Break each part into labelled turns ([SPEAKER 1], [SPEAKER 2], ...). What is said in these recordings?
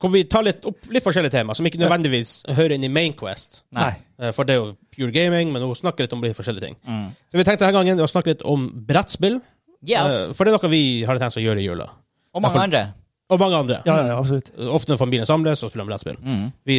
[SPEAKER 1] hvor vi tar litt opp litt forskjellige tema, som ikke nødvendigvis hører inn i Mainquest.
[SPEAKER 2] Nei.
[SPEAKER 1] Eh, For det er jo pure gaming, men hun snakker litt om litt forskjellige ting. Så vi tenkte denne gangen å snakke litt om brettspill. Eh,
[SPEAKER 2] Yes.
[SPEAKER 1] For det er noe vi har tenkt å gjøre i jula.
[SPEAKER 2] Og mange andre.
[SPEAKER 1] Og mange andre.
[SPEAKER 3] Ja, ja, absolutt.
[SPEAKER 1] Ofte når familien samles, så spiller de brettspill.
[SPEAKER 2] Mm.
[SPEAKER 1] Vi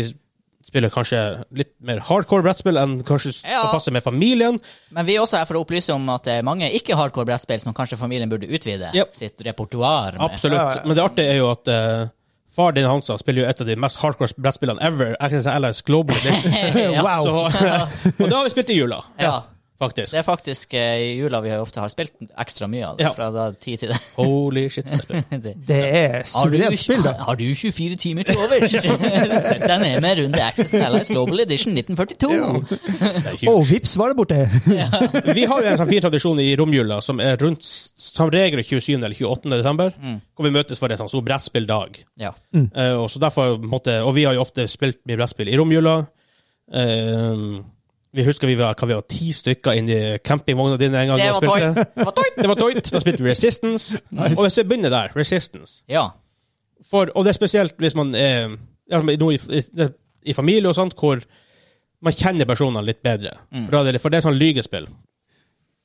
[SPEAKER 1] spiller kanskje litt mer hardcore brettspill enn kanskje
[SPEAKER 2] Ja.
[SPEAKER 1] som passer med familien.
[SPEAKER 2] Men vi er også her for å opplyse om at det er mange ikke-hardcore brettspill som kanskje familien burde utvide
[SPEAKER 1] Yep.
[SPEAKER 2] sitt repertoar med.
[SPEAKER 1] Absolutt.
[SPEAKER 3] Ja, ja.
[SPEAKER 1] Men det artige er jo at eh, far din, Hansa, spiller jo et av de mest hardcore brettspillene ever. XS LS Global Edition.
[SPEAKER 2] ja.
[SPEAKER 3] Wow.
[SPEAKER 1] Så, og det har vi spilt i jula,
[SPEAKER 2] ja.
[SPEAKER 1] faktisk.
[SPEAKER 2] Det er faktisk eh, i jula vi ofte har spilt ekstra mye av det,
[SPEAKER 1] Ja.
[SPEAKER 2] fra da tid til det.
[SPEAKER 1] Holy shit. det er spill.
[SPEAKER 2] det.
[SPEAKER 3] Det er
[SPEAKER 2] Har du,
[SPEAKER 3] suverent spill, da.
[SPEAKER 2] har du 24 timer til overs? Sett deg ned med runde Access Allies Global Edition 1942.
[SPEAKER 1] Det er
[SPEAKER 3] Å,
[SPEAKER 1] huge.
[SPEAKER 3] vips, var det borte.
[SPEAKER 1] Vi har jo en sånn fin tradisjon i romjula som er rundt s- som regel 27. eller 28. desember,
[SPEAKER 2] Mm.
[SPEAKER 1] hvor vi møtes for en sånn stor brettspilldag.
[SPEAKER 2] Ja.
[SPEAKER 1] Eh, og, så derfor, måtte, og vi har jo ofte spilt mye brettspill i romjula. Eh, vi husker vi var, hva vi var ti stykker inn i campingvogna dine en gang.
[SPEAKER 2] Det
[SPEAKER 1] og
[SPEAKER 2] var
[SPEAKER 1] spilte.
[SPEAKER 2] toit. Det var toit.
[SPEAKER 1] Det var toit. Da spilte vi Resistance. Og hvis vi begynner der, Resistance
[SPEAKER 2] Ja.
[SPEAKER 1] For, Og det er spesielt hvis man er ja, men nå i, i, det- i familie og sånt, hvor man kjenner personene litt bedre. For, da er det, for det er sånn lygespill.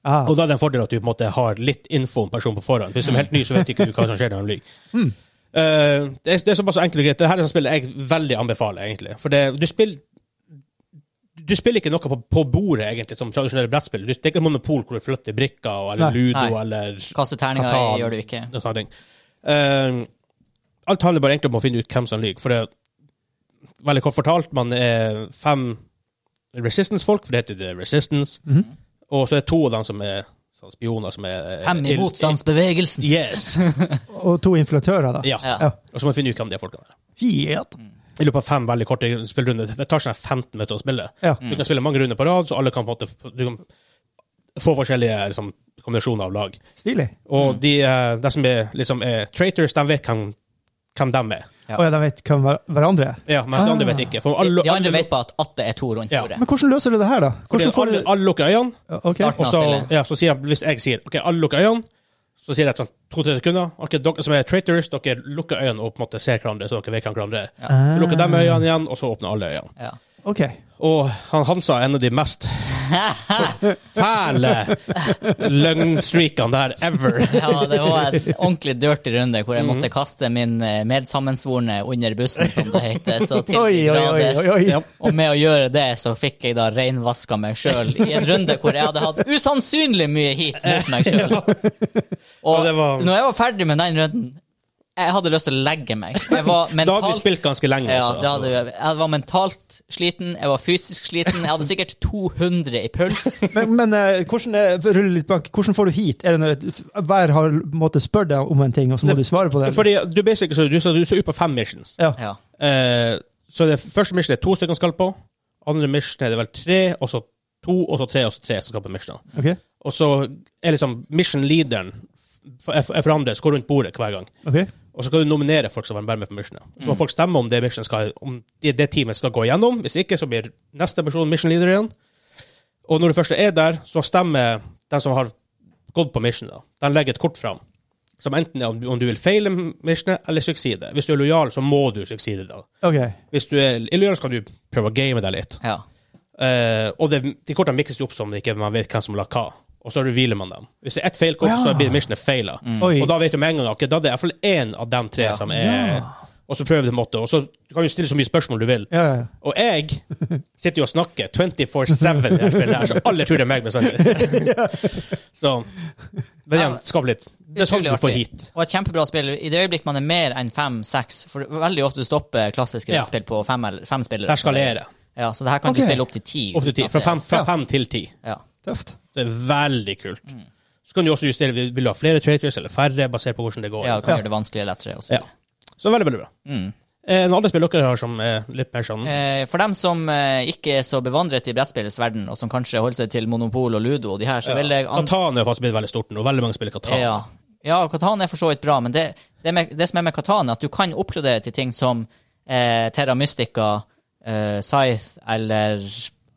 [SPEAKER 3] Ah,
[SPEAKER 1] Og da er det en fordel at du på en måte har litt info om personen på forhånd. Hvis du er helt ny, så vet ikke du hva som skjer når han lyver.
[SPEAKER 3] Mm.
[SPEAKER 1] Eh, det, er, det er såpass enkelt og greit. Det her er sånn spill jeg veldig anbefaler, egentlig. For det, du spiller du spiller ikke noe på, på bordet, egentlig, som tradisjonelle brettspill. Du, det er ikke monopol hvor du flytter brikker og, eller
[SPEAKER 3] Nei.
[SPEAKER 1] ludo
[SPEAKER 2] Nei.
[SPEAKER 1] eller
[SPEAKER 2] Kaste terninger
[SPEAKER 1] Katan.
[SPEAKER 2] gjør du ikke.
[SPEAKER 1] og sånne ting. Eh, alt handler bare egentlig om å finne ut hvem som lyver. For det er veldig kort fortalt, man er fem Resistance-folk, for det heter det Resistance. Og så er to av dem som er sånn spioner som er eh,
[SPEAKER 2] Fem i
[SPEAKER 1] ill-
[SPEAKER 2] motstandsbevegelsen.
[SPEAKER 1] Yes.
[SPEAKER 3] og to inflatører, da.
[SPEAKER 1] Ja.
[SPEAKER 2] Ja.
[SPEAKER 1] Og så må man finne ut hvem de folkene er.
[SPEAKER 3] Fiat.
[SPEAKER 1] I løpet av fem veldig korte spillrunder. Det tar sånn 15 minutter å spille.
[SPEAKER 3] Ja.
[SPEAKER 2] Mm.
[SPEAKER 1] Du kan spille mange runder på rad, så alle kan på en måte f- du kan få forskjellige liksom, kombinasjoner av lag.
[SPEAKER 3] Stilig.
[SPEAKER 1] Og
[SPEAKER 2] Mm.
[SPEAKER 1] de, eh, de som er, liksom, er traitors, de vet hvem, hvem de er.
[SPEAKER 2] Ja.
[SPEAKER 3] Å ja, de vet hvem hver- hverandre er.
[SPEAKER 1] Ja, mens de andre
[SPEAKER 3] Ah.
[SPEAKER 1] vet ikke. For alle,
[SPEAKER 2] De, de andre
[SPEAKER 1] alle,
[SPEAKER 2] vet bare at, at det er to rundt
[SPEAKER 1] Ja.
[SPEAKER 2] bordet.
[SPEAKER 3] Men hvordan løser du det her, da?
[SPEAKER 1] fordi
[SPEAKER 3] Hvordan får du
[SPEAKER 1] alle, alle lukker øynene,
[SPEAKER 3] Ja, Ok.
[SPEAKER 2] Start.
[SPEAKER 1] og så,
[SPEAKER 2] Spillet.
[SPEAKER 1] ja, så sier jeg, hvis jeg sier OK, alle lukker øynene, så sier jeg sånn to-tre sekunder OK, dere som er traitors, dere lukker øynene og på en måte ser hverandre, så dere vet hvem hverandre er.
[SPEAKER 2] Ah.
[SPEAKER 1] Så lukker de øynene igjen, og så åpner alle øynene.
[SPEAKER 2] Ja.
[SPEAKER 3] Ok.
[SPEAKER 1] Og han Hansa er en av de mest fæle løgnstreakene der ever.
[SPEAKER 2] ja, det var en ordentlig dirty runde hvor jeg
[SPEAKER 1] Mhm.
[SPEAKER 2] måtte kaste min eh, medsammensvorne under bussen, som det heter. Så til
[SPEAKER 3] Oi,
[SPEAKER 2] de
[SPEAKER 3] oi, oi.
[SPEAKER 2] grader.
[SPEAKER 3] oi, oi.
[SPEAKER 1] Ja.
[SPEAKER 2] Og med å gjøre det, så fikk jeg da reinvaska meg sjøl i en runde hvor jeg hadde hatt usannsynlig mye heat mot meg sjøl.
[SPEAKER 1] Ja,
[SPEAKER 2] Og
[SPEAKER 1] det var-
[SPEAKER 2] når jeg var ferdig med den runden, jeg hadde lyst til å legge meg. Jeg var
[SPEAKER 1] Da hadde vi
[SPEAKER 2] mentalt
[SPEAKER 1] spilt ganske lenge.
[SPEAKER 2] ja,
[SPEAKER 1] altså.
[SPEAKER 2] det hadde, jeg Jeg var mentalt sliten, jeg var fysisk sliten, jeg hadde sikkert 200 i puls.
[SPEAKER 3] Men, men eh, hvordan, er, rulle litt bak, hvordan får du hit? Er det noe, hver har på en måte spør deg om en ting, og så må
[SPEAKER 1] Det-
[SPEAKER 3] du svare på det?
[SPEAKER 1] Fordi du basically så du, så du så ut på fem missions.
[SPEAKER 3] ja.
[SPEAKER 2] Ja.
[SPEAKER 1] Eh, så det første mission er to stykker skal på. Andre mission er det vel tre, og så to, og så tre, og så tre som skal på missioner.
[SPEAKER 3] Ok.
[SPEAKER 1] Og så er liksom mission leaderen f- er er forandret, så går rundt bordet hver gang.
[SPEAKER 3] ok.
[SPEAKER 1] Og så skal du nominere folk som vil være med på missionet. Så må folk stemme om det, mission skal, om det, det teamet skal gå igjennom. Hvis ikke, så blir neste person mission leader igjen. Og når du først er der, så stemmer den som har gått på mission, da. Den legger et kort fram. Som enten er om du, om du vil feile missionet, eller sukside. Hvis du er lojal, så må du sukside, da.
[SPEAKER 3] Ok.
[SPEAKER 1] Hvis du er lojal, så kan du prøve å game deg litt.
[SPEAKER 2] ja.
[SPEAKER 1] Eh, og det, de kortene mikses jo opp som ikke man vet hvem som la hva. Og så revealer man dem. Hvis det er ett feil kort,
[SPEAKER 3] Ja.
[SPEAKER 1] så blir missionet feila.
[SPEAKER 3] Oi.
[SPEAKER 1] Og da vet du med en gang ok, da er det iallfall én av de tre som er Og så prøver du på en måte, og så du kan du stille så mye spørsmål du vil.
[SPEAKER 3] Ja, ja, ja.
[SPEAKER 1] Og jeg sitter jo og snakker 24-7 i det her spillet her, så alle tror det er meg. Men sånn. så Men igjen, skap litt. Det er sånn du
[SPEAKER 2] Utrolig
[SPEAKER 1] får
[SPEAKER 2] artig.
[SPEAKER 1] hit.
[SPEAKER 2] Og et kjempebra spill i det øyeblikk man er mer enn fem-seks. For veldig ofte stopper klassiske
[SPEAKER 1] Ja.
[SPEAKER 2] spill på fem, eller, fem spillere.
[SPEAKER 1] Der skal jeg lære.
[SPEAKER 2] Ja, så det her kan
[SPEAKER 3] Ok.
[SPEAKER 2] du spille opp til ti.
[SPEAKER 1] Opp til ti.
[SPEAKER 2] uten at
[SPEAKER 1] Fra
[SPEAKER 2] det-
[SPEAKER 1] fem, fra fem til ti.
[SPEAKER 2] Ja.
[SPEAKER 3] Tøft.
[SPEAKER 1] Det er veldig kult.
[SPEAKER 2] Mm.
[SPEAKER 1] Så kan du også justere. Vil du ha flere traitors eller færre, basert på hvordan det går?
[SPEAKER 2] ja, du kan gjøre det vanskeligere lettere. Og så
[SPEAKER 1] Ja.
[SPEAKER 2] videre.
[SPEAKER 1] Så veldig, veldig bra. Eh, noen andre spill dere har som er litt mer sånn
[SPEAKER 2] Mm. Eh, For dem som eh, ikke er så bevandret i brettspillets verden, og som kanskje holder seg til Monopol og Ludo og de her, så vil jeg an-
[SPEAKER 1] Katan er faktisk blitt veldig stort nå. Veldig mange spiller Katan.
[SPEAKER 2] Ja. ja, Katan er for så vidt bra, men det, det, med, det som er med Katan, er at du kan oppgradere til ting som eh, Terra Mystica, eh, Scythe eller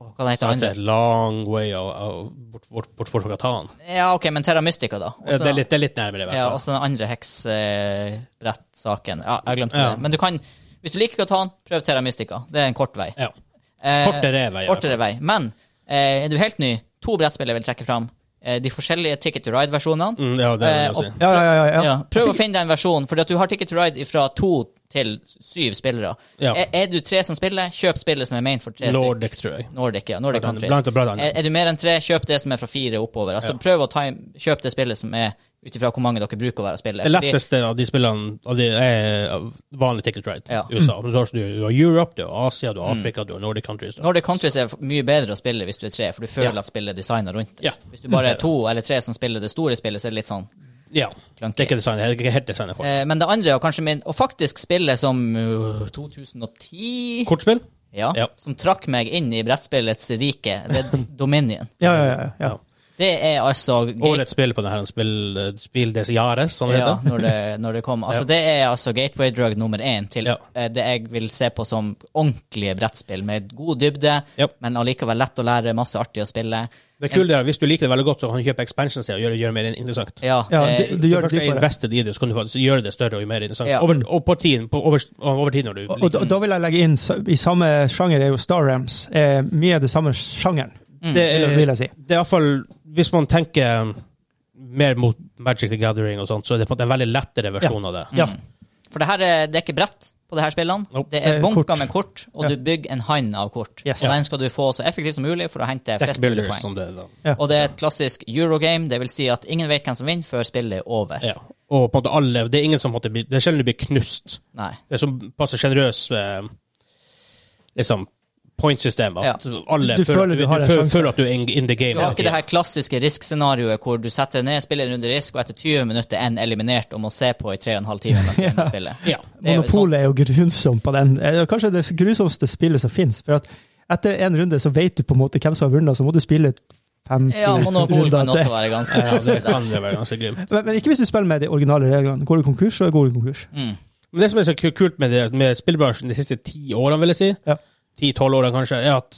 [SPEAKER 2] Åh, Hva heter det
[SPEAKER 1] Det
[SPEAKER 2] andre?
[SPEAKER 1] er et lang way av, av, bort, bort, bort, bort fra Katan.
[SPEAKER 2] Ja, OK, men Terra Mystica, da.
[SPEAKER 1] Eh,
[SPEAKER 2] Også-
[SPEAKER 1] det, er litt, altså. det er litt nærmere, i hvert
[SPEAKER 2] Ja,
[SPEAKER 1] fall.
[SPEAKER 2] også den andre heksbrettsaken. Ja, jeg glemte
[SPEAKER 1] Ja.
[SPEAKER 2] det. Men du kan, hvis du liker Katan, prøv Terra Mystica. Det er en kort vei.
[SPEAKER 1] Ja.
[SPEAKER 2] Eh,
[SPEAKER 1] Kortere vei, i hvert
[SPEAKER 2] kortere vei. Men eh, er du helt ny, to brettspill jeg vil trekke fram. Eh, de forskjellige Ticket to Ride-versjonene.
[SPEAKER 1] Mm, ja, det vil
[SPEAKER 2] Eh,
[SPEAKER 1] jeg si.
[SPEAKER 2] og-
[SPEAKER 3] Ja, ja, ja. ja,
[SPEAKER 2] Ja.
[SPEAKER 3] ja.
[SPEAKER 2] prøv å finne deg en versjon, for at du har Ticket to Ride fra to til syv spillere.
[SPEAKER 1] Ja.
[SPEAKER 2] Er, er du tre som spiller, kjøp spillet som er main for tre stykker.
[SPEAKER 1] Nordic, tror jeg.
[SPEAKER 2] Nordic, ja. Nordic
[SPEAKER 1] Blant annet-
[SPEAKER 2] Countries.
[SPEAKER 1] blant annet- blant annet.
[SPEAKER 2] Er, er du mer enn tre, kjøp det som er fra fire oppover. Altså,
[SPEAKER 1] Ja.
[SPEAKER 2] Prøv å time, kjøp det spillet som er ut ifra hvor mange dere bruker å være spiller.
[SPEAKER 1] Det
[SPEAKER 2] Fordi-
[SPEAKER 1] letteste av de spillene av de, er vanlig ticket ride.
[SPEAKER 2] Ja. Mm.
[SPEAKER 1] USA. Du har, du har Europe, du har Asia, du har Afrika, du har Nordic countries. Du. har-
[SPEAKER 2] Nordic Countries er mye bedre å spille hvis du er tre, for du føler at spillet er designet rundt det.
[SPEAKER 1] Ja.
[SPEAKER 2] Hvis du bare er to eller tre som spiller det store spillet, så er det litt sånn
[SPEAKER 1] Ja.
[SPEAKER 2] clunky.
[SPEAKER 1] Det er ikke designet, det er ikke helt designet for.
[SPEAKER 2] Eh, men det andre, og kanskje min, og faktisk spillet som øh, 2010
[SPEAKER 1] Kortspill?
[SPEAKER 2] ja,
[SPEAKER 1] Ja.
[SPEAKER 2] som trakk meg inn i brettspillets rike, det er Dominion.
[SPEAKER 3] ja, ja, ja, ja.
[SPEAKER 2] Det er altså
[SPEAKER 1] Årets spill på denne spill, eh, spill des Jares, som det
[SPEAKER 2] ja,
[SPEAKER 1] heter.
[SPEAKER 2] når det, når det kom. Altså,
[SPEAKER 1] Ja.
[SPEAKER 2] Det er altså gateway drug nummer én til
[SPEAKER 1] Ja.
[SPEAKER 2] eh, det jeg vil se på som ordentlige brettspill, med god dybde,
[SPEAKER 1] Ja.
[SPEAKER 2] men allikevel lett å lære, masse artig å spille.
[SPEAKER 1] Det kule er at hvis du liker det veldig godt, så kan du kjøpe expansion og gjøre, gjøre mer interessant.
[SPEAKER 2] Ja,
[SPEAKER 3] Ja,
[SPEAKER 2] eh,
[SPEAKER 3] det- Du gjør
[SPEAKER 1] Først er
[SPEAKER 3] dypere.
[SPEAKER 1] invested i det, så kan du faktisk gjøre det større og mer interessant.
[SPEAKER 2] Ja.
[SPEAKER 1] Over, og på tiden, på, over, over tid når du
[SPEAKER 3] Og, og da, da vil jeg legge inn, s- i samme sjanger er jo Star Rams eh, mye av det samme sjangeren,
[SPEAKER 1] det,
[SPEAKER 3] vil
[SPEAKER 1] er,
[SPEAKER 3] vil jeg si.
[SPEAKER 1] det er iallfall Hvis man tenker um, mer mot Magic the Gathering og sånt, så er det på en måte en veldig lettere versjon av det.
[SPEAKER 3] Ja.
[SPEAKER 2] For det her er, det er ikke brett på det her spillene.
[SPEAKER 1] Nope.
[SPEAKER 2] Det
[SPEAKER 3] Det
[SPEAKER 2] er
[SPEAKER 3] er
[SPEAKER 2] bunker
[SPEAKER 3] kort.
[SPEAKER 2] med kort, og du bygger en hand av kort.
[SPEAKER 3] Yes.
[SPEAKER 2] Og
[SPEAKER 3] Ja.
[SPEAKER 2] den skal du få så effektivt som mulig for å hente flest mulig
[SPEAKER 1] Deckbuilders,
[SPEAKER 2] poeng.
[SPEAKER 1] som det er da.
[SPEAKER 2] Og det er et klassisk eurogame, det vil si at ingen vet hvem som vinner før spillet er over.
[SPEAKER 1] Ja. Og på en måte alle Det er ingen som måtte bli, det er sjelden du blir knust.
[SPEAKER 2] Nei.
[SPEAKER 1] Det er så passe sjenerøs eh, liksom, pointsystem at alle
[SPEAKER 3] Du
[SPEAKER 1] føler,
[SPEAKER 3] føler
[SPEAKER 1] du,
[SPEAKER 3] du har en
[SPEAKER 1] føler,
[SPEAKER 3] sjanse.
[SPEAKER 1] føler at du er in, in the game.
[SPEAKER 2] Du har
[SPEAKER 1] hele
[SPEAKER 2] ikke det
[SPEAKER 1] tiden.
[SPEAKER 2] her klassiske risk-scenarioet hvor du setter ned, spiller under risk, og etter 20 minutter er en eliminert og må se på i 3 15 timer mens man spiller.
[SPEAKER 1] Ja.
[SPEAKER 2] Det er jo
[SPEAKER 3] Monopolet er jo grusomt på den. Eh, Kanskje det grusomste spillet som finnes. For at etter en runde så vet du på en måte hvem som har vunnet, så må du spille 50
[SPEAKER 2] Ja, monopol
[SPEAKER 3] runder
[SPEAKER 2] kan også
[SPEAKER 3] til.
[SPEAKER 2] være ganske
[SPEAKER 1] Ja, det
[SPEAKER 2] vanskelig.
[SPEAKER 1] kan det være ganske grymt.
[SPEAKER 3] Men, men ikke hvis du spiller med de originale reglene. Går du konkurs, så går du konkurs.
[SPEAKER 2] Mm.
[SPEAKER 1] Men det som er så ku- kult med, det, med spillbransjen de siste ti årene, vil jeg si,
[SPEAKER 3] Ja.
[SPEAKER 1] ti-tolv årene kanskje, er at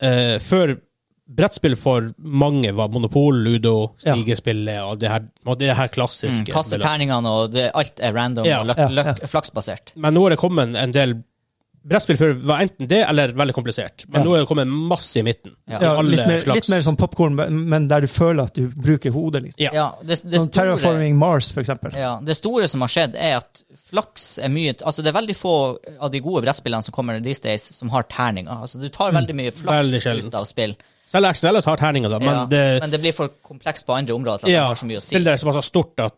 [SPEAKER 1] eh, før brettspill for mange var monopol, ludo,
[SPEAKER 3] Ja.
[SPEAKER 1] stigespillet og det her, og det her
[SPEAKER 2] Mm.
[SPEAKER 1] klassiske.
[SPEAKER 2] Kaste
[SPEAKER 1] spillet.
[SPEAKER 2] terningene, og det, alt er random
[SPEAKER 1] Ja.
[SPEAKER 2] og løk,
[SPEAKER 3] Ja, ja.
[SPEAKER 2] løk, flaksbasert.
[SPEAKER 1] Men nå er det kommet en del brettspill før var enten det eller veldig komplisert. Men
[SPEAKER 3] Ja.
[SPEAKER 1] nå er det kommet masse i midten.
[SPEAKER 2] Ja.
[SPEAKER 3] Ja,
[SPEAKER 1] Alle
[SPEAKER 3] litt, mer,
[SPEAKER 1] slags-
[SPEAKER 3] litt mer sånn popkorn, men men der du føler at du bruker hodet. Liksom.
[SPEAKER 1] Ja.
[SPEAKER 2] Ja, det, det
[SPEAKER 3] Sånn
[SPEAKER 2] store,
[SPEAKER 3] Terraforming Mars, for eksempel.
[SPEAKER 2] ja, det store som har skjedd, er at flaks er mye Altså, det er veldig få av de gode brettspillene som kommer these days, som har terninger. Altså, du tar veldig mye
[SPEAKER 1] Mm.
[SPEAKER 2] flaks
[SPEAKER 1] Veldig sjelden.
[SPEAKER 2] ut av spill,
[SPEAKER 1] Selv XNL tar terninger, da, men
[SPEAKER 2] ja,
[SPEAKER 1] det
[SPEAKER 2] men det blir for komplekst på andre områder til at det
[SPEAKER 1] ja,
[SPEAKER 2] har så mye å si.
[SPEAKER 1] spillet er såpass stort at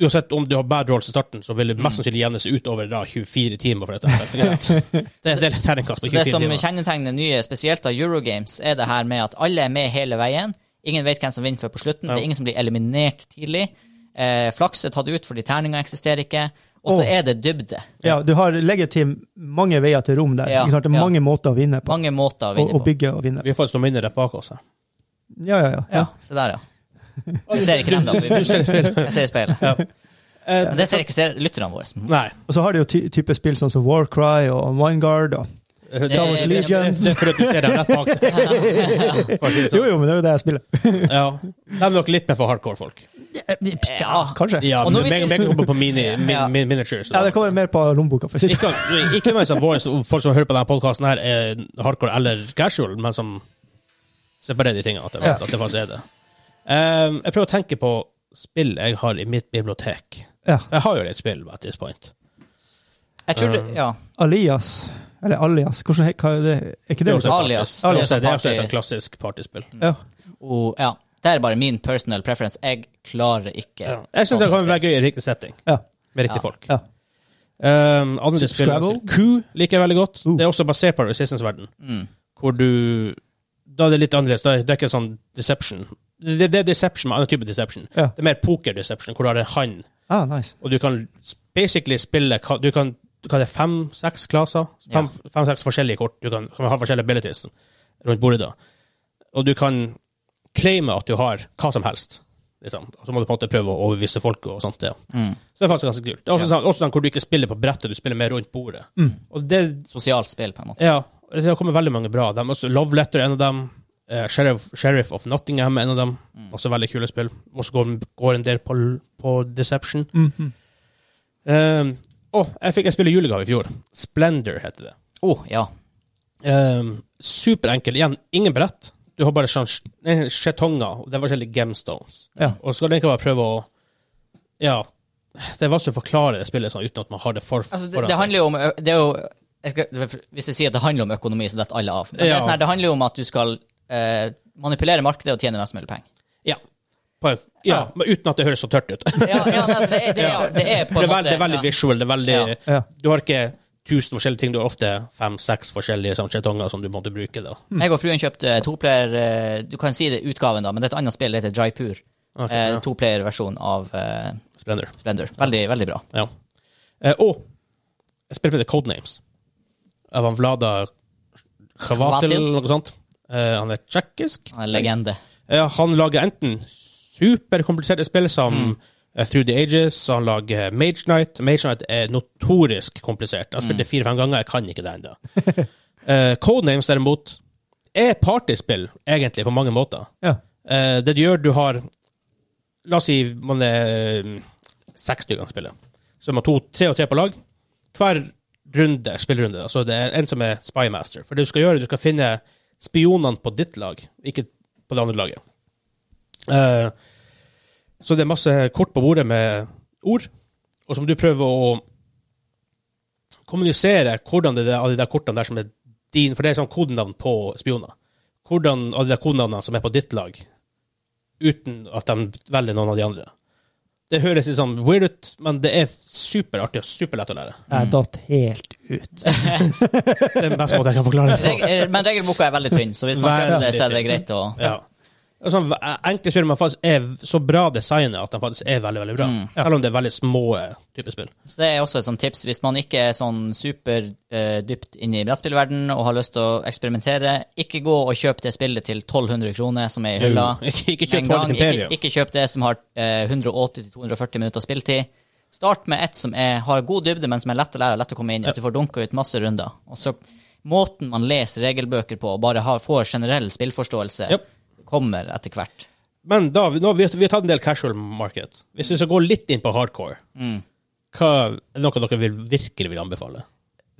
[SPEAKER 1] uansett om du har bad rolls i starten, så vil det mest sannsynlig jevne seg utover da 24 timer, for eksempel. det, det er litt terningkast på
[SPEAKER 2] Så det
[SPEAKER 1] 24
[SPEAKER 2] som
[SPEAKER 1] timer.
[SPEAKER 2] kjennetegner nye, spesielt av Eurogames, er det her med at alle er med hele veien. Ingen vet hvem som vinner før på slutten. Det er ingen som blir eliminert tidlig. Eh, flaks er tatt ut fordi terninga eksisterer ikke. Og så
[SPEAKER 3] Åh.
[SPEAKER 2] er det dybde.
[SPEAKER 3] Ja, du har legitim mange veier til rom der.
[SPEAKER 2] Ja,
[SPEAKER 3] Ikke sant? Det er
[SPEAKER 2] ja.
[SPEAKER 3] mange måter å vinne på.
[SPEAKER 2] Mange måter
[SPEAKER 3] Og,
[SPEAKER 2] å vinne
[SPEAKER 3] og
[SPEAKER 2] på.
[SPEAKER 3] bygge og vinne.
[SPEAKER 1] Vi har fått noen minner rett bak oss. her.
[SPEAKER 3] Ja, ja, ja.
[SPEAKER 2] Ja, se der, ja. Jeg ser ikke den, da. Jeg ser i speilet.
[SPEAKER 1] Eh,
[SPEAKER 2] Men det ser ikke ser- lytterne våre. Mm.
[SPEAKER 1] Nei.
[SPEAKER 3] Og så har du jo ty type spill sånn som Warcry og Mindguard. Og.
[SPEAKER 1] Det-
[SPEAKER 3] Wars
[SPEAKER 2] Eh,
[SPEAKER 3] Legions.
[SPEAKER 1] Det er fordi du ser dem rett bak deg. For å si det
[SPEAKER 3] Jo,
[SPEAKER 1] sånn.
[SPEAKER 3] jo, men det er jo det jeg spiller.
[SPEAKER 1] Ja. De er nok litt mer for hardcore folk.
[SPEAKER 3] Ja, kanskje.
[SPEAKER 1] Ja,
[SPEAKER 2] Og når
[SPEAKER 1] men
[SPEAKER 2] vi
[SPEAKER 1] meg
[SPEAKER 2] ser-
[SPEAKER 1] meg kommer på mini, min,
[SPEAKER 2] Ja.
[SPEAKER 1] min, miniatures.
[SPEAKER 3] Ja, det kommer mer på lommeboka. for å si det sånn.
[SPEAKER 1] Ikke, ikke noe som våre, folk som hører på denne podkasten, er hardcore eller casual, men som separerer de tingene. At jeg vet
[SPEAKER 3] Ja.
[SPEAKER 1] at det faktisk er det. Ehm, jeg prøver å tenke på spill jeg har i mitt bibliotek.
[SPEAKER 3] Ja.
[SPEAKER 1] Jeg har jo litt spill at this point.
[SPEAKER 2] Jeg tror det, ja.
[SPEAKER 3] Alias. Eller Alias. Hvordan, he- hva er det? Er ikke det?
[SPEAKER 1] også et
[SPEAKER 2] Alias.
[SPEAKER 1] party- Det er også,
[SPEAKER 2] Alias
[SPEAKER 1] det er også et
[SPEAKER 2] party-
[SPEAKER 1] sånt klassisk partyspill.
[SPEAKER 3] Ja.
[SPEAKER 2] Og, Oh, ja. Det er bare min personal preference. Jeg klarer ikke
[SPEAKER 1] Ja. Jeg syns det kan være gøy i riktig setting,
[SPEAKER 3] Ja.
[SPEAKER 1] med riktig
[SPEAKER 2] Ja.
[SPEAKER 1] folk.
[SPEAKER 3] Ja.
[SPEAKER 1] Ehm, andre spill
[SPEAKER 3] Scrabble?
[SPEAKER 1] Q liker jeg veldig godt.
[SPEAKER 3] Uh.
[SPEAKER 1] Det er også basert på Resistance-verden,
[SPEAKER 2] Mm.
[SPEAKER 1] hvor du Da er det litt annerledes. Da er det ikke sånn deception. Det, det er deception, men annen type deception.
[SPEAKER 3] Ja.
[SPEAKER 1] Det er mer poker-deception, hvor du har en hand,
[SPEAKER 3] Ah, nice.
[SPEAKER 1] og du kan s- basically spille hva- Du kan hva er det, fem-seks klasser.
[SPEAKER 2] Ja.
[SPEAKER 1] Fem-seks forskjellige kort. Du kan, kan ha forskjellige abilities sånn, rundt bordet. da. Og du kan claime at du har hva som helst. Liksom. Og Så må du på en måte prøve å overbevise folk og sånt. Ja.
[SPEAKER 2] Mm.
[SPEAKER 1] Så det er faktisk ganske kult. Det er også,
[SPEAKER 2] Ja.
[SPEAKER 1] sånn, også sånn hvor du ikke spiller på brettet, du spiller mer rundt bordet.
[SPEAKER 3] Mm.
[SPEAKER 1] Og det,
[SPEAKER 2] Sosialt spill, på en måte.
[SPEAKER 1] ja, det har kommet veldig mange bra av dem. Også Love Letter er en av dem. Eh, Sheriff, Sheriff of Nottingham er en av dem. Også veldig kule spill. Også går, går en del på, på Deception.
[SPEAKER 3] Mm, mm.
[SPEAKER 1] Um, å, jeg fikk et spill i julegave i fjor. Splendor heter det.
[SPEAKER 2] Oh, ja.
[SPEAKER 1] Um, superenkel. Igjen, ingen brett. Du har bare sånn eh, skjetonger, og det er forskjellige gemstones.
[SPEAKER 3] Ja.
[SPEAKER 1] Og så skal du egentlig bare prøve å Ja. Det er vanskelig å forklare det spillet sånn uten at man har det for
[SPEAKER 2] Altså, det,
[SPEAKER 1] foran
[SPEAKER 2] det
[SPEAKER 1] seg.
[SPEAKER 2] handler jo om ø- det er jo, jeg skal, Hvis jeg sier at det handler om økonomi, så detter alle av. Men det, er
[SPEAKER 1] Ja.
[SPEAKER 2] sånn her, det handler jo om at du skal eh, manipulere markedet og tjene mest mulig penger.
[SPEAKER 1] Ja. På, ja, men uten at det høres så tørt ut. det,
[SPEAKER 2] Ja, ja, altså, det, er, det, er, det er på
[SPEAKER 1] er veld,
[SPEAKER 2] en måte
[SPEAKER 1] det er veldig
[SPEAKER 2] ja.
[SPEAKER 1] visual. Det er veldig,
[SPEAKER 2] Ja.
[SPEAKER 3] Ja.
[SPEAKER 1] Du har ikke tusen forskjellige ting, du har ofte fem-seks forskjellige sånn, skjetonger som du måtte bruke. da.
[SPEAKER 2] Jeg og fruen kjøpte toplayer eh, Du kan si det er utgaven, da, men det er et annet spill. Det heter Jaipur.
[SPEAKER 1] Ok,
[SPEAKER 2] eh,
[SPEAKER 1] ja.
[SPEAKER 2] Toplayer-versjon av eh,
[SPEAKER 1] Splendor.
[SPEAKER 2] Splendor. Veldig, veldig bra.
[SPEAKER 1] Ja. Eh, og jeg spilte med The Codenames av han Vlada Khavatil,
[SPEAKER 2] Khvatil?
[SPEAKER 1] eller noe sånt. Eh, han er tsjekkisk.
[SPEAKER 2] Han er en legende.
[SPEAKER 1] Eh, han lager enten superkompliserte spill som eh, Through the Ages, og han lager Mage Knight. Mage Knight er notorisk komplisert. Jeg spilte fire-fem ganger, jeg kan ikke det ennå. Eh, Codenames, derimot, er partyspill, egentlig, på mange måter.
[SPEAKER 3] Ja.
[SPEAKER 1] Eh, det du gjør, du har La oss si man er mm, seks stykker som spiller. Så man har to, tre og tre på lag. Hver runde, spillerunde, da, så det er en som er spymaster. For det du skal gjøre, du skal finne spionene på ditt lag, ikke på det andre laget. Eh, så det er masse kort på bordet med ord, og som du prøver å kommunisere hvordan det er av de der kortene der som er din, for det er sånn kodenavn på spioner. Hvordan av de der kodenavnene som er på ditt lag, uten at de velger noen av de andre. Det høres litt sånn weird ut, men det er superartig og superlett å lære.
[SPEAKER 3] Jeg datt helt ut.
[SPEAKER 1] Det er den beste måten jeg kan forklare det
[SPEAKER 2] Reg,
[SPEAKER 1] på.
[SPEAKER 2] eh, men regelboka er veldig tynn, så hvis man prøver det, så er det
[SPEAKER 1] Veldig
[SPEAKER 2] greit å
[SPEAKER 1] Ja. Det er Sånn, enkle spill men faktisk er så bra designet at de faktisk er veldig veldig bra.
[SPEAKER 2] Mm.
[SPEAKER 1] Selv om det er veldig små eh, typer spill.
[SPEAKER 2] Så det er også et sånt tips. Hvis man ikke er sånn superdypt inne i brettspillverden og har lyst til å eksperimentere, ikke gå og kjøp det spillet til 1200 kroner som er i hylla.
[SPEAKER 1] Ikke, ikke
[SPEAKER 2] Med en
[SPEAKER 1] kjøp Hornet
[SPEAKER 2] gang. Ikke,
[SPEAKER 1] Imperium.
[SPEAKER 2] ikke kjøp det som har eh, 180-240 minutter spilletid. Start med et som er, har god dybde, men som er lett å lære og lett å komme inn i. At du får dunka ut masse runder. Og så Måten man leser regelbøker på, og bare har, får generell spillforståelse,
[SPEAKER 1] Japp.
[SPEAKER 2] kommer etter hvert.
[SPEAKER 1] Men da, nå, har vi, vi har tatt en del casual market. Hvis vi skal gå litt inn på hardcore,
[SPEAKER 2] Mm.
[SPEAKER 1] hva er noe dere vil, virkelig vil anbefale?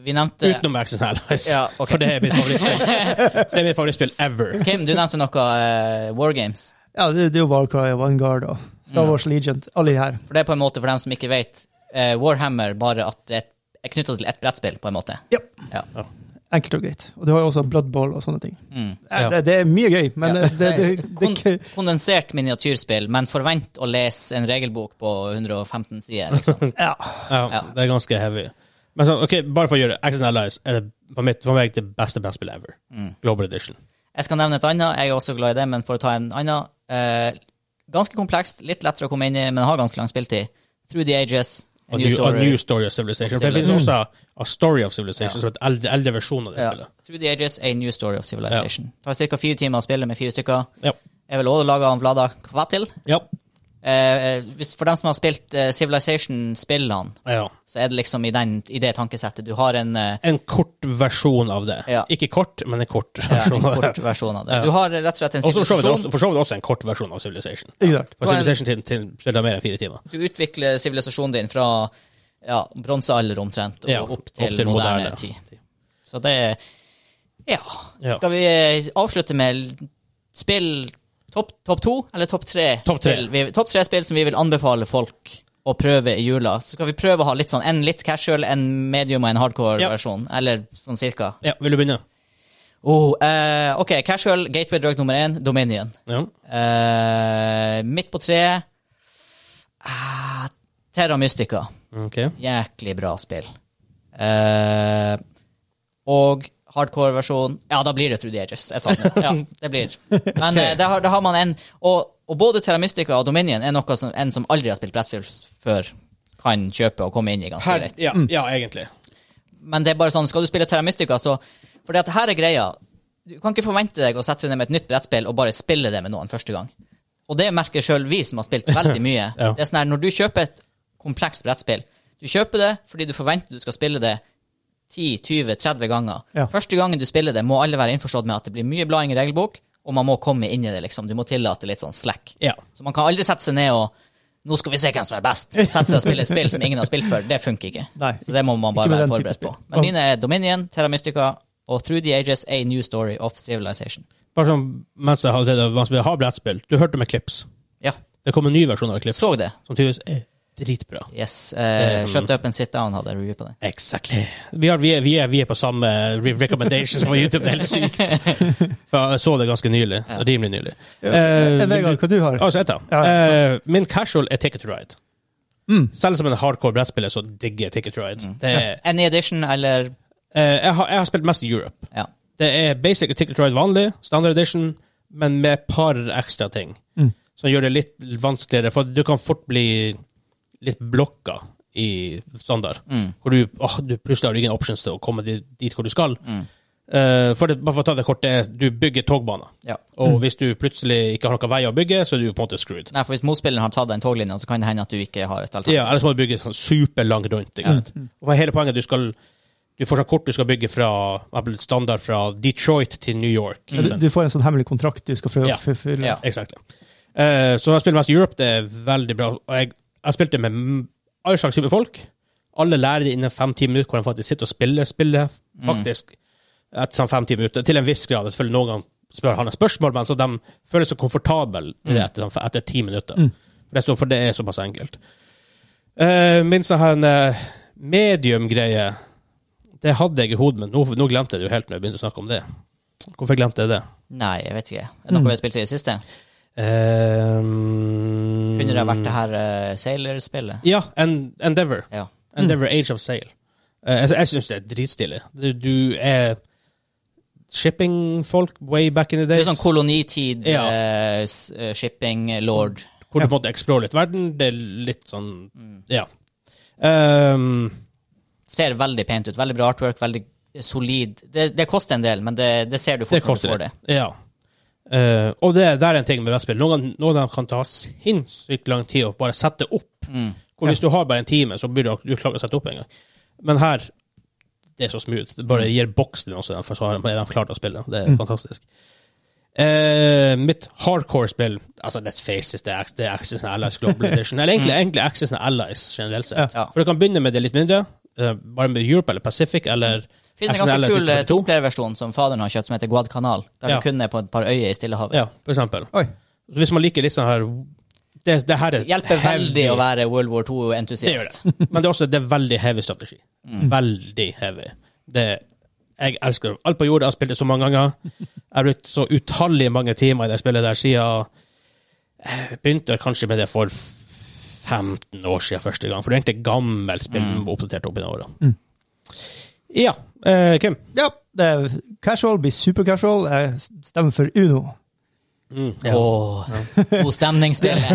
[SPEAKER 2] Vi nevnte
[SPEAKER 1] Utenom Axis Allies,
[SPEAKER 2] Ja, ok.
[SPEAKER 1] for det er mitt favorittspill. For det er mitt favorittspill ever.
[SPEAKER 2] Kim, du nevnte noe eh, War Games.
[SPEAKER 3] Ja, det, det er jo Warcry og Vanguard og Star Wars Legion, alle de her.
[SPEAKER 2] For det er på en måte, for dem som ikke vet, eh, Warhammer bare at det er knytta til ett brettspill, på en måte. Ja.
[SPEAKER 3] Enkelt og greit. Og du har jo også Bloodball og sånne ting.
[SPEAKER 2] Mm.
[SPEAKER 3] Eh,
[SPEAKER 1] Ja.
[SPEAKER 3] Det, det er mye gøy, men
[SPEAKER 2] Ja.
[SPEAKER 3] eh, det, det, det,
[SPEAKER 2] Kon
[SPEAKER 3] det
[SPEAKER 2] kondensert miniatyrspill, men forvent å lese en regelbok på 115 sider, liksom.
[SPEAKER 3] Ja.
[SPEAKER 1] Ja,
[SPEAKER 2] Ja.
[SPEAKER 1] Det er ganske heavy. Men så, ok, bare for å gjøre det, Axis Allies er det, for, mitt, for meg det beste brettspillet ever.
[SPEAKER 2] Mm.
[SPEAKER 1] Global Edition.
[SPEAKER 2] Jeg skal nevne et annet, jeg er også glad i det, men for å ta en annen eh, Ganske komplekst, litt lettere å komme inn i, men har ganske lang spiltid. Through the Ages, A
[SPEAKER 1] A
[SPEAKER 2] New
[SPEAKER 1] new, a
[SPEAKER 2] Story.
[SPEAKER 1] new Story of Civilization.
[SPEAKER 2] Of
[SPEAKER 1] For det finnes også
[SPEAKER 3] Civilization.
[SPEAKER 1] A Story of Civilization, som er et eldre, eldre versjon av det
[SPEAKER 2] Ja.
[SPEAKER 1] spillet.
[SPEAKER 2] Through the Ages, A New Story of Civilization. Tar ca. fire timer å spille med fire stykker.
[SPEAKER 1] Ja.
[SPEAKER 2] Jeg vil også lage av Vlada Kvatil.
[SPEAKER 1] Ja.
[SPEAKER 2] Eh, hvis, for dem som har spilt eh, Civilization-spillene,
[SPEAKER 1] ja.
[SPEAKER 2] så er det liksom i, den, i det tankesettet. Du har en, eh,
[SPEAKER 1] En kort versjon av det.
[SPEAKER 2] Ja.
[SPEAKER 1] Ikke kort, men en kort
[SPEAKER 2] ja,
[SPEAKER 1] versjon
[SPEAKER 2] en
[SPEAKER 1] av det.
[SPEAKER 2] kort versjon av det.
[SPEAKER 1] Sånn, Ja.
[SPEAKER 2] Du har rett og slett en
[SPEAKER 1] Og så for så vidt
[SPEAKER 2] sivilisasjon.
[SPEAKER 1] også- for så vidt også en kort versjon av Civilization.
[SPEAKER 3] Ikke sant.
[SPEAKER 1] For
[SPEAKER 2] Det var en-
[SPEAKER 1] Civilization til, til, til det er mer enn fire timer.
[SPEAKER 2] Du utvikler sivilisasjonen din fra ja, bronsealder omtrent og
[SPEAKER 1] Ja,
[SPEAKER 2] opp til, moderne, tid. Så det er ja.
[SPEAKER 1] Ja.
[SPEAKER 2] Skal vi eh, avslutte med spill topp topp to, eller topp tre?
[SPEAKER 1] Topp tre.
[SPEAKER 2] Spill, vi, topp tre spill som vi vil anbefale folk å prøve i jula. Så skal vi prøve å ha litt sånn en litt casual, en medium og en hardcore
[SPEAKER 1] Ja.
[SPEAKER 2] versjon. Eller sånn cirka.
[SPEAKER 1] Ja, vil du begynne?
[SPEAKER 2] Oh, eh, OK, casual, gateway drug nummer én, Dominion.
[SPEAKER 1] Ja.
[SPEAKER 2] Eh, midt på treet ah, Terra Mystica.
[SPEAKER 1] Ok.
[SPEAKER 2] Jæklig bra spill. Eh, og hardcore-versjon Ja, da blir det Through the Ages. Jeg sa det. Ja, det blir. Men eh, da, har, da har man en og, og både Terra Mystica og Dominion er noe som en som aldri har spilt brettspill f- før, kan kjøpe og komme inn i ganske
[SPEAKER 1] Her,
[SPEAKER 3] Mm.
[SPEAKER 2] greit.
[SPEAKER 1] ja, ja, egentlig.
[SPEAKER 2] men det er bare sånn, skal du spille Terramistica, så For det at her er greia. Du kan ikke forvente deg å sette deg ned med et nytt brettspill og bare spille det med noen første gang. Og det merker sjøl vi som har spilt veldig mye.
[SPEAKER 1] Ja.
[SPEAKER 2] Det er sånn her, Når du kjøper et komplekst brettspill Du kjøper det fordi du forventer du skal spille det 10-20-30 ganger.
[SPEAKER 3] Ja.
[SPEAKER 2] Første gangen du spiller det, må alle være innforstått med at det blir mye blading i regelbok, og man må komme inn i det, liksom. Du må tillate litt sånn slack.
[SPEAKER 1] Ja.
[SPEAKER 2] Så man kan aldri sette seg ned og nå skal vi se hvem som er best. Sette seg og spille et spill som ingen har spilt før. Det funker ikke.
[SPEAKER 3] Nei.
[SPEAKER 2] Så det må man bare
[SPEAKER 3] Ikke med
[SPEAKER 2] være
[SPEAKER 3] den type
[SPEAKER 2] forberedt på.
[SPEAKER 3] spill.
[SPEAKER 2] Men mine er Dominion, Terra Mystica og Through the Ages, A New Story of Civilization.
[SPEAKER 1] Bare sånn mens jeg allerede mens vi har brettspill. Du hørte med Clips.
[SPEAKER 2] Ja,
[SPEAKER 1] Det kom en ny versjon av Clips
[SPEAKER 2] så det.
[SPEAKER 1] som tydeligvis er dritbra.
[SPEAKER 2] Yes. eh,
[SPEAKER 1] Mm.
[SPEAKER 2] shut up and sit down hadde jeg review på det.
[SPEAKER 1] Exactly. Vi, har, vi, er, vi, er, vi er på samme re- recommendations på YouTube, det er helt sykt. For jeg så det ganske nylig.
[SPEAKER 2] Ja.
[SPEAKER 1] Rimelig nylig.
[SPEAKER 3] Eh,
[SPEAKER 1] Eh,
[SPEAKER 3] Vegard, hva du har
[SPEAKER 1] Altså, et da.
[SPEAKER 3] Ja,
[SPEAKER 1] Eh, min casual er Ticket to Ride.
[SPEAKER 3] Mm.
[SPEAKER 1] Selv som en hardcore brettspiller, så digger jeg Ticket to Ride.
[SPEAKER 2] Mm.
[SPEAKER 1] Det er,
[SPEAKER 2] Any edition eller
[SPEAKER 1] eh, jeg, har, jeg har spilt mest i Europe.
[SPEAKER 2] Ja.
[SPEAKER 1] Det er basic Ticket to Ride vanlig, standard edition, men med et par ekstra ting.
[SPEAKER 3] Mm.
[SPEAKER 1] Som gjør det litt vanskeligere, for du kan fort bli litt blokka i standard.
[SPEAKER 2] Mm.
[SPEAKER 1] Hvor du, åh, du plutselig har ingen options til å komme dit, dit hvor du skal.
[SPEAKER 2] Mm.
[SPEAKER 1] Eh, for det, bare for å ta det kort, det er du bygger togbaner.
[SPEAKER 2] Ja.
[SPEAKER 1] Og hvis du plutselig ikke har noen vei å bygge, så er du på en måte screwed.
[SPEAKER 2] Nei, for hvis motspilleren har tatt den toglinja, så kan det hende at du ikke har et alternativ.
[SPEAKER 1] Ja, ellers må du bygge sånn superlangt rundt. Ikke sant? Og for hele poenget, du skal du får sånn kort du skal bygge fra for eksempel standard fra Detroit til New York.
[SPEAKER 3] Ja,
[SPEAKER 1] Ikke
[SPEAKER 3] Du,
[SPEAKER 1] sant?
[SPEAKER 3] du får en sånn hemmelig kontrakt du skal prøve
[SPEAKER 1] Ja.
[SPEAKER 3] å forfylle.
[SPEAKER 2] Ja.
[SPEAKER 1] Exakt. Eh, så jeg spiller mest Europe, det er veldig bra. Og jeg, jeg spilte med m- all slags type folk. Alle lærer det innen fem-ti minutter hvor de faktisk sitter og spiller. Spiller faktisk etter sånn fem-ti minutter. Til en viss grad. Selvfølgelig noen ganger spør han et spørsmål, men så de føler seg komfortable i det etter, sånn, etter ti minutter. For, det er så, for det er såpass enkelt. Uh, min sånn her, eh, medium-greie, det hadde jeg i hodet, men nå, nå glemte jeg det jo helt når jeg begynte å snakke om det. Hvorfor glemte jeg det?
[SPEAKER 2] Nei, jeg vet ikke. Er det noe vi har spilt i det siste?
[SPEAKER 1] Um,
[SPEAKER 2] Kunne det ha vært det her eh, Sailor-spillet?
[SPEAKER 1] Ja, en, Endeavor.
[SPEAKER 2] Ja.
[SPEAKER 1] Endeavor Age of Sail. Eh, jeg jeg syns det er dritstilig. Du, du er shipping-folk way back in the
[SPEAKER 2] Det er
[SPEAKER 1] days.
[SPEAKER 2] sånn kolonitid,
[SPEAKER 1] Ja.
[SPEAKER 2] eh, s- eh, shipping, lord.
[SPEAKER 1] hvor du på en måte explorer litt verden. Det er litt sånn
[SPEAKER 2] Mm.
[SPEAKER 1] Ja. Um,
[SPEAKER 2] Ser veldig pent ut. Veldig bra artwork, veldig solid. Det, det koster en del, men det, det ser du
[SPEAKER 1] det
[SPEAKER 2] fort når du
[SPEAKER 1] koster
[SPEAKER 2] får det.
[SPEAKER 1] litt. Ja. Eh, og det, det er en ting med brettspill. Noen, noen av dem kan ta sinnssykt lang tid å bare sette opp.
[SPEAKER 2] Mm.
[SPEAKER 1] Hvor Hvis du har bare en time, så burde du, du klare å sette opp en gang. Men her det er så smooth. Det
[SPEAKER 2] Mm.
[SPEAKER 1] bare gir boks til noen, så derfor så er de klare til å spille. Det er fantastisk. Eh, mitt hardcore-spill altså Let's face it, det er, det er Axis and Allies Global Edition. Eller egentlig,
[SPEAKER 2] Mm.
[SPEAKER 1] egentlig Axis and Allies generelt sett.
[SPEAKER 2] Ja.
[SPEAKER 1] For du kan begynne med det litt mindre. eh, bare med Europe eller Pacific eller
[SPEAKER 2] Fins en
[SPEAKER 1] Axis and
[SPEAKER 2] ganske
[SPEAKER 1] Allies
[SPEAKER 2] kul eh,
[SPEAKER 1] 1942.
[SPEAKER 2] toplayerversjon som faderen har kjøpt, som heter Guadcanal. Der
[SPEAKER 1] Ja.
[SPEAKER 2] du kun er på et par øyer i Stillehavet.
[SPEAKER 1] Ja, for eksempel.
[SPEAKER 3] Oi.
[SPEAKER 1] Så Hvis man liker litt sånn her Det, det her er
[SPEAKER 2] Det Hjelper
[SPEAKER 1] heavy-
[SPEAKER 2] veldig å være World War
[SPEAKER 1] Det gjør
[SPEAKER 2] II-entusiast.
[SPEAKER 1] det. Men det er også det er veldig heavy strategi.
[SPEAKER 2] Mm.
[SPEAKER 1] Veldig heavy. Det, jeg elsker alt på jorda. Jeg har spilt det så mange ganger. Jeg har brukt så utallige mange timer i det spillet der siden jeg begynte kanskje med det for f- 15 år siden første gang. For det er egentlig et gammelt spill mm. oppdatert opp i åra.
[SPEAKER 3] Mm.
[SPEAKER 1] Ja. Eh, Kim?
[SPEAKER 3] Ja, det er casual blir super casual. Jeg stemmer for Uno.
[SPEAKER 2] Mm.
[SPEAKER 1] Ja.
[SPEAKER 2] Åh, god stemning spillet.
[SPEAKER 3] Ja,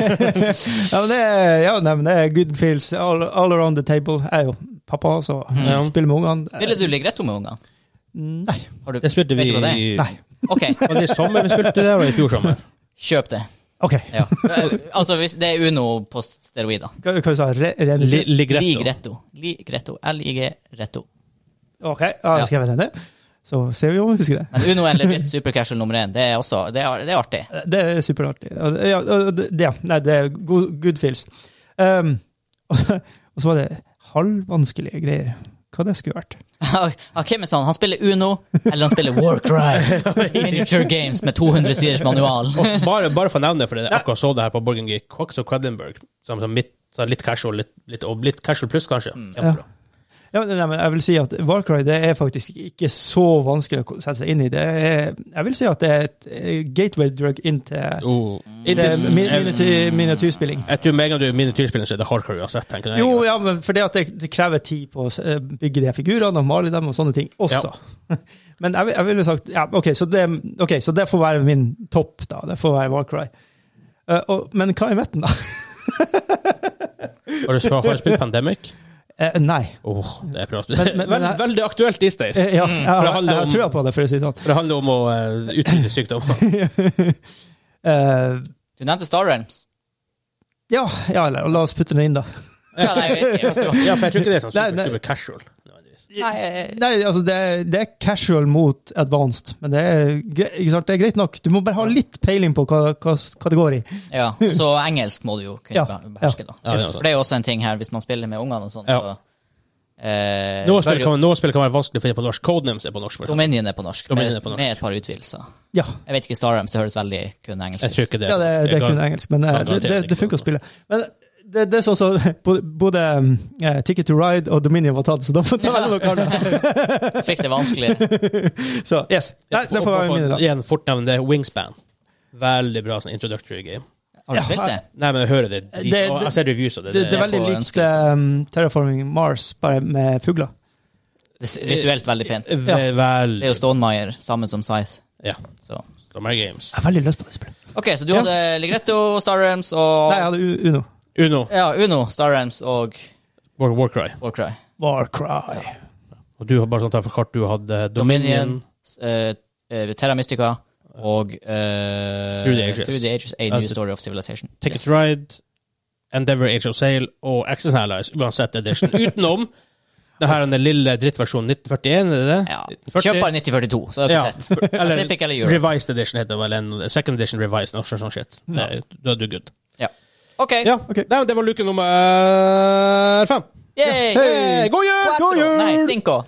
[SPEAKER 3] men det er, ja, nei, men det er good feels all, all around the table. Jeg er jo pappa, så
[SPEAKER 1] Ja.
[SPEAKER 3] spiller med ungene. Eh,
[SPEAKER 2] Spiller du Ligretto med ungene?
[SPEAKER 3] Nei.
[SPEAKER 2] Har du-
[SPEAKER 1] Det spilte vi
[SPEAKER 2] Vet du hva det er?
[SPEAKER 3] Nei.
[SPEAKER 2] OK,
[SPEAKER 1] Var det i sommer vi spilte det, og i fjor sommer?
[SPEAKER 2] kjøp det.
[SPEAKER 3] OK.
[SPEAKER 2] Ja. Eh, Altså, hvis det er Uno på steroider.
[SPEAKER 3] Hva, hva sa du? Re, ren-
[SPEAKER 1] Li- Ligretto.
[SPEAKER 2] Ligretto. Ligretto. L-I-G-retto.
[SPEAKER 3] OK, da
[SPEAKER 2] Ja.
[SPEAKER 3] skrev jeg den ned. Så ser vi om vi husker det.
[SPEAKER 2] Men Uno er legit supercasual nummer én. Det er også det er, det er artig.
[SPEAKER 3] Eh, Det er superartig. Ja, det- Ja, det, ja, nei, det er good, good feels. Um, og, så- og så var det halvvanskelige greier. Hva det skulle vært.
[SPEAKER 2] Ah, Kim er sånn, han spiller Uno, eller han spiller Warcry. Miniature Games med 200 siders manual.
[SPEAKER 1] Og bare, bare for å nevne, for jeg akkurat så det her på Borgen Geek, Cox og Quedlinburg, som, som mitt, så litt casual, litt, litt, og litt casual pluss, kanskje. Kjempebra.
[SPEAKER 3] Mm. Ja, men- nei, men jeg vil si at Warcry det er faktisk ikke så vanskelig å sette seg inn i. Det er, jeg vil si at det er et eh, gateway drug inn til
[SPEAKER 1] Oh.
[SPEAKER 3] til
[SPEAKER 1] It is-
[SPEAKER 3] Mm. min- miniaty- miniatyrspilling.
[SPEAKER 1] jeg tror med en gang du er miniatyrspiller, så er det hardcore uansett, tenker jeg.
[SPEAKER 3] Jo, ja, men for det, at det, det krever tid på å s- eh, bygge de her figurene og male dem og sånne ting også. men jeg, vil- jeg ville sagt ja, OK, så det, ok, så det får være min topp, da. Det får være Warcry. Eh, og, men hva er metten, da?
[SPEAKER 1] Har du, sp- har du spilt Pandemic?
[SPEAKER 3] Eh, nei.
[SPEAKER 1] Åh, det er bra.
[SPEAKER 3] Men- men- men-
[SPEAKER 1] Veld, veldig aktuelt these days.
[SPEAKER 3] Eh, ja, jeg,
[SPEAKER 1] Mm, for
[SPEAKER 3] har-
[SPEAKER 1] det handler
[SPEAKER 3] jeg har
[SPEAKER 1] om-
[SPEAKER 3] trua på det, for å si det sånn.
[SPEAKER 1] For det handler om å eh, utrydde sykdommer.
[SPEAKER 3] Eh,
[SPEAKER 2] Du nevnte Star Realms.
[SPEAKER 3] ja, ja, eller la oss putte den inn, da.
[SPEAKER 2] Ja, nei, jeg vet ikke, jeg forstår.
[SPEAKER 1] Ja, for jeg tror ikke det er sånn
[SPEAKER 3] Nei,
[SPEAKER 1] super,
[SPEAKER 3] nei.
[SPEAKER 1] super casual. nødvendigvis.
[SPEAKER 2] Nei, eh, jeg-
[SPEAKER 3] Nei, altså det, er- det er casual mot advanced, men det er, gre- ikke sant? det er greit nok. Du må bare ha litt peiling på hva, hva kategori.
[SPEAKER 2] ja, så engelsk må du jo kunne
[SPEAKER 3] Ja,
[SPEAKER 2] beh- beherske, da.
[SPEAKER 1] ja. Ja, ja.
[SPEAKER 2] For det er jo også en ting her, hvis man spiller med ungene og sånn,
[SPEAKER 1] Ja.
[SPEAKER 2] så eh,
[SPEAKER 1] Noen
[SPEAKER 2] bør
[SPEAKER 1] spill,
[SPEAKER 2] jo-
[SPEAKER 1] kan, noen spill kan være vanskelig å finne på norsk. Codenames er på norsk. for eksempel.
[SPEAKER 2] Dominion er på norsk,
[SPEAKER 1] Dominion
[SPEAKER 2] med,
[SPEAKER 1] er på norsk.
[SPEAKER 2] med et par utvidelser.
[SPEAKER 3] Ja,
[SPEAKER 2] Jeg vet ikke, Star Realms, det høres veldig kun engelsk
[SPEAKER 1] Jeg tror ikke det.
[SPEAKER 3] ja det,
[SPEAKER 1] på norsk.
[SPEAKER 3] det er
[SPEAKER 1] Jeg
[SPEAKER 3] kun
[SPEAKER 1] kan-
[SPEAKER 3] engelsk, men eh,
[SPEAKER 1] kan
[SPEAKER 3] det,
[SPEAKER 1] garantert
[SPEAKER 3] det,
[SPEAKER 1] ikke
[SPEAKER 3] det funker å spille. Men det, det er sånn som både- både eh, Ticket to Ride og Dominion var tatt, så da får ta alle dere andre.
[SPEAKER 2] Jeg fikk det vanskelig.
[SPEAKER 3] Så yes. Nei, det får være mine, da.
[SPEAKER 1] Igjen, fort nevne det. Wingspan. Veldig bra sånn introductory game.
[SPEAKER 2] Har du spilt det?
[SPEAKER 1] Nei, men jeg hører det. Drit,
[SPEAKER 3] Det-
[SPEAKER 1] og jeg ser reviews av det.
[SPEAKER 3] Det, det er
[SPEAKER 2] på
[SPEAKER 3] veldig likt
[SPEAKER 2] ønskelista.
[SPEAKER 3] eh, Terraforming Mars, bare med fugler.
[SPEAKER 2] Det er visuelt veldig pent.
[SPEAKER 1] ve- veldig
[SPEAKER 2] Det er jo Stonemeyer, samme som Scythe.
[SPEAKER 1] Ja.
[SPEAKER 2] Så.
[SPEAKER 1] Summer Games.
[SPEAKER 3] Jeg har veldig lyst på det spillet.
[SPEAKER 2] Ok, så du hadde Ligretto, Star Realms og
[SPEAKER 3] Nei, jeg hadde U- Uno.
[SPEAKER 1] Uno.
[SPEAKER 2] ja, Uno, Star Realms og
[SPEAKER 1] War, Warcry.
[SPEAKER 2] Warcry.
[SPEAKER 3] Warcry.
[SPEAKER 1] Og du har bare sånn ta for kart. Du hadde Dominion.
[SPEAKER 2] eh, eh, Terra Mystica og eh,
[SPEAKER 1] Through the Ages.
[SPEAKER 2] Through the Ages, A
[SPEAKER 1] Ja,
[SPEAKER 2] New
[SPEAKER 1] det-
[SPEAKER 2] Story of Civilization.
[SPEAKER 1] Ticket to Ride, Endeavor Age of Sail og Access Allies, uansett edition. Utenom det her den lille drittversjonen 1941, er det det?
[SPEAKER 2] Ja.
[SPEAKER 1] 40.
[SPEAKER 2] Kjøp bare 9042, så har du
[SPEAKER 1] Ja,
[SPEAKER 2] ikke sett.
[SPEAKER 1] for- eller-
[SPEAKER 2] Pacific eller Europe.
[SPEAKER 1] Revised Edition heter det vel en Second Edition Revised, noe sånt sånt shit. Det- Da er du good.
[SPEAKER 2] Ja. OK.
[SPEAKER 1] Ja, Nei, men det var luke nummer fem.
[SPEAKER 2] Yay!
[SPEAKER 1] Hey, god jul!
[SPEAKER 2] Quattro.
[SPEAKER 1] God jul!
[SPEAKER 2] Nei, cinco.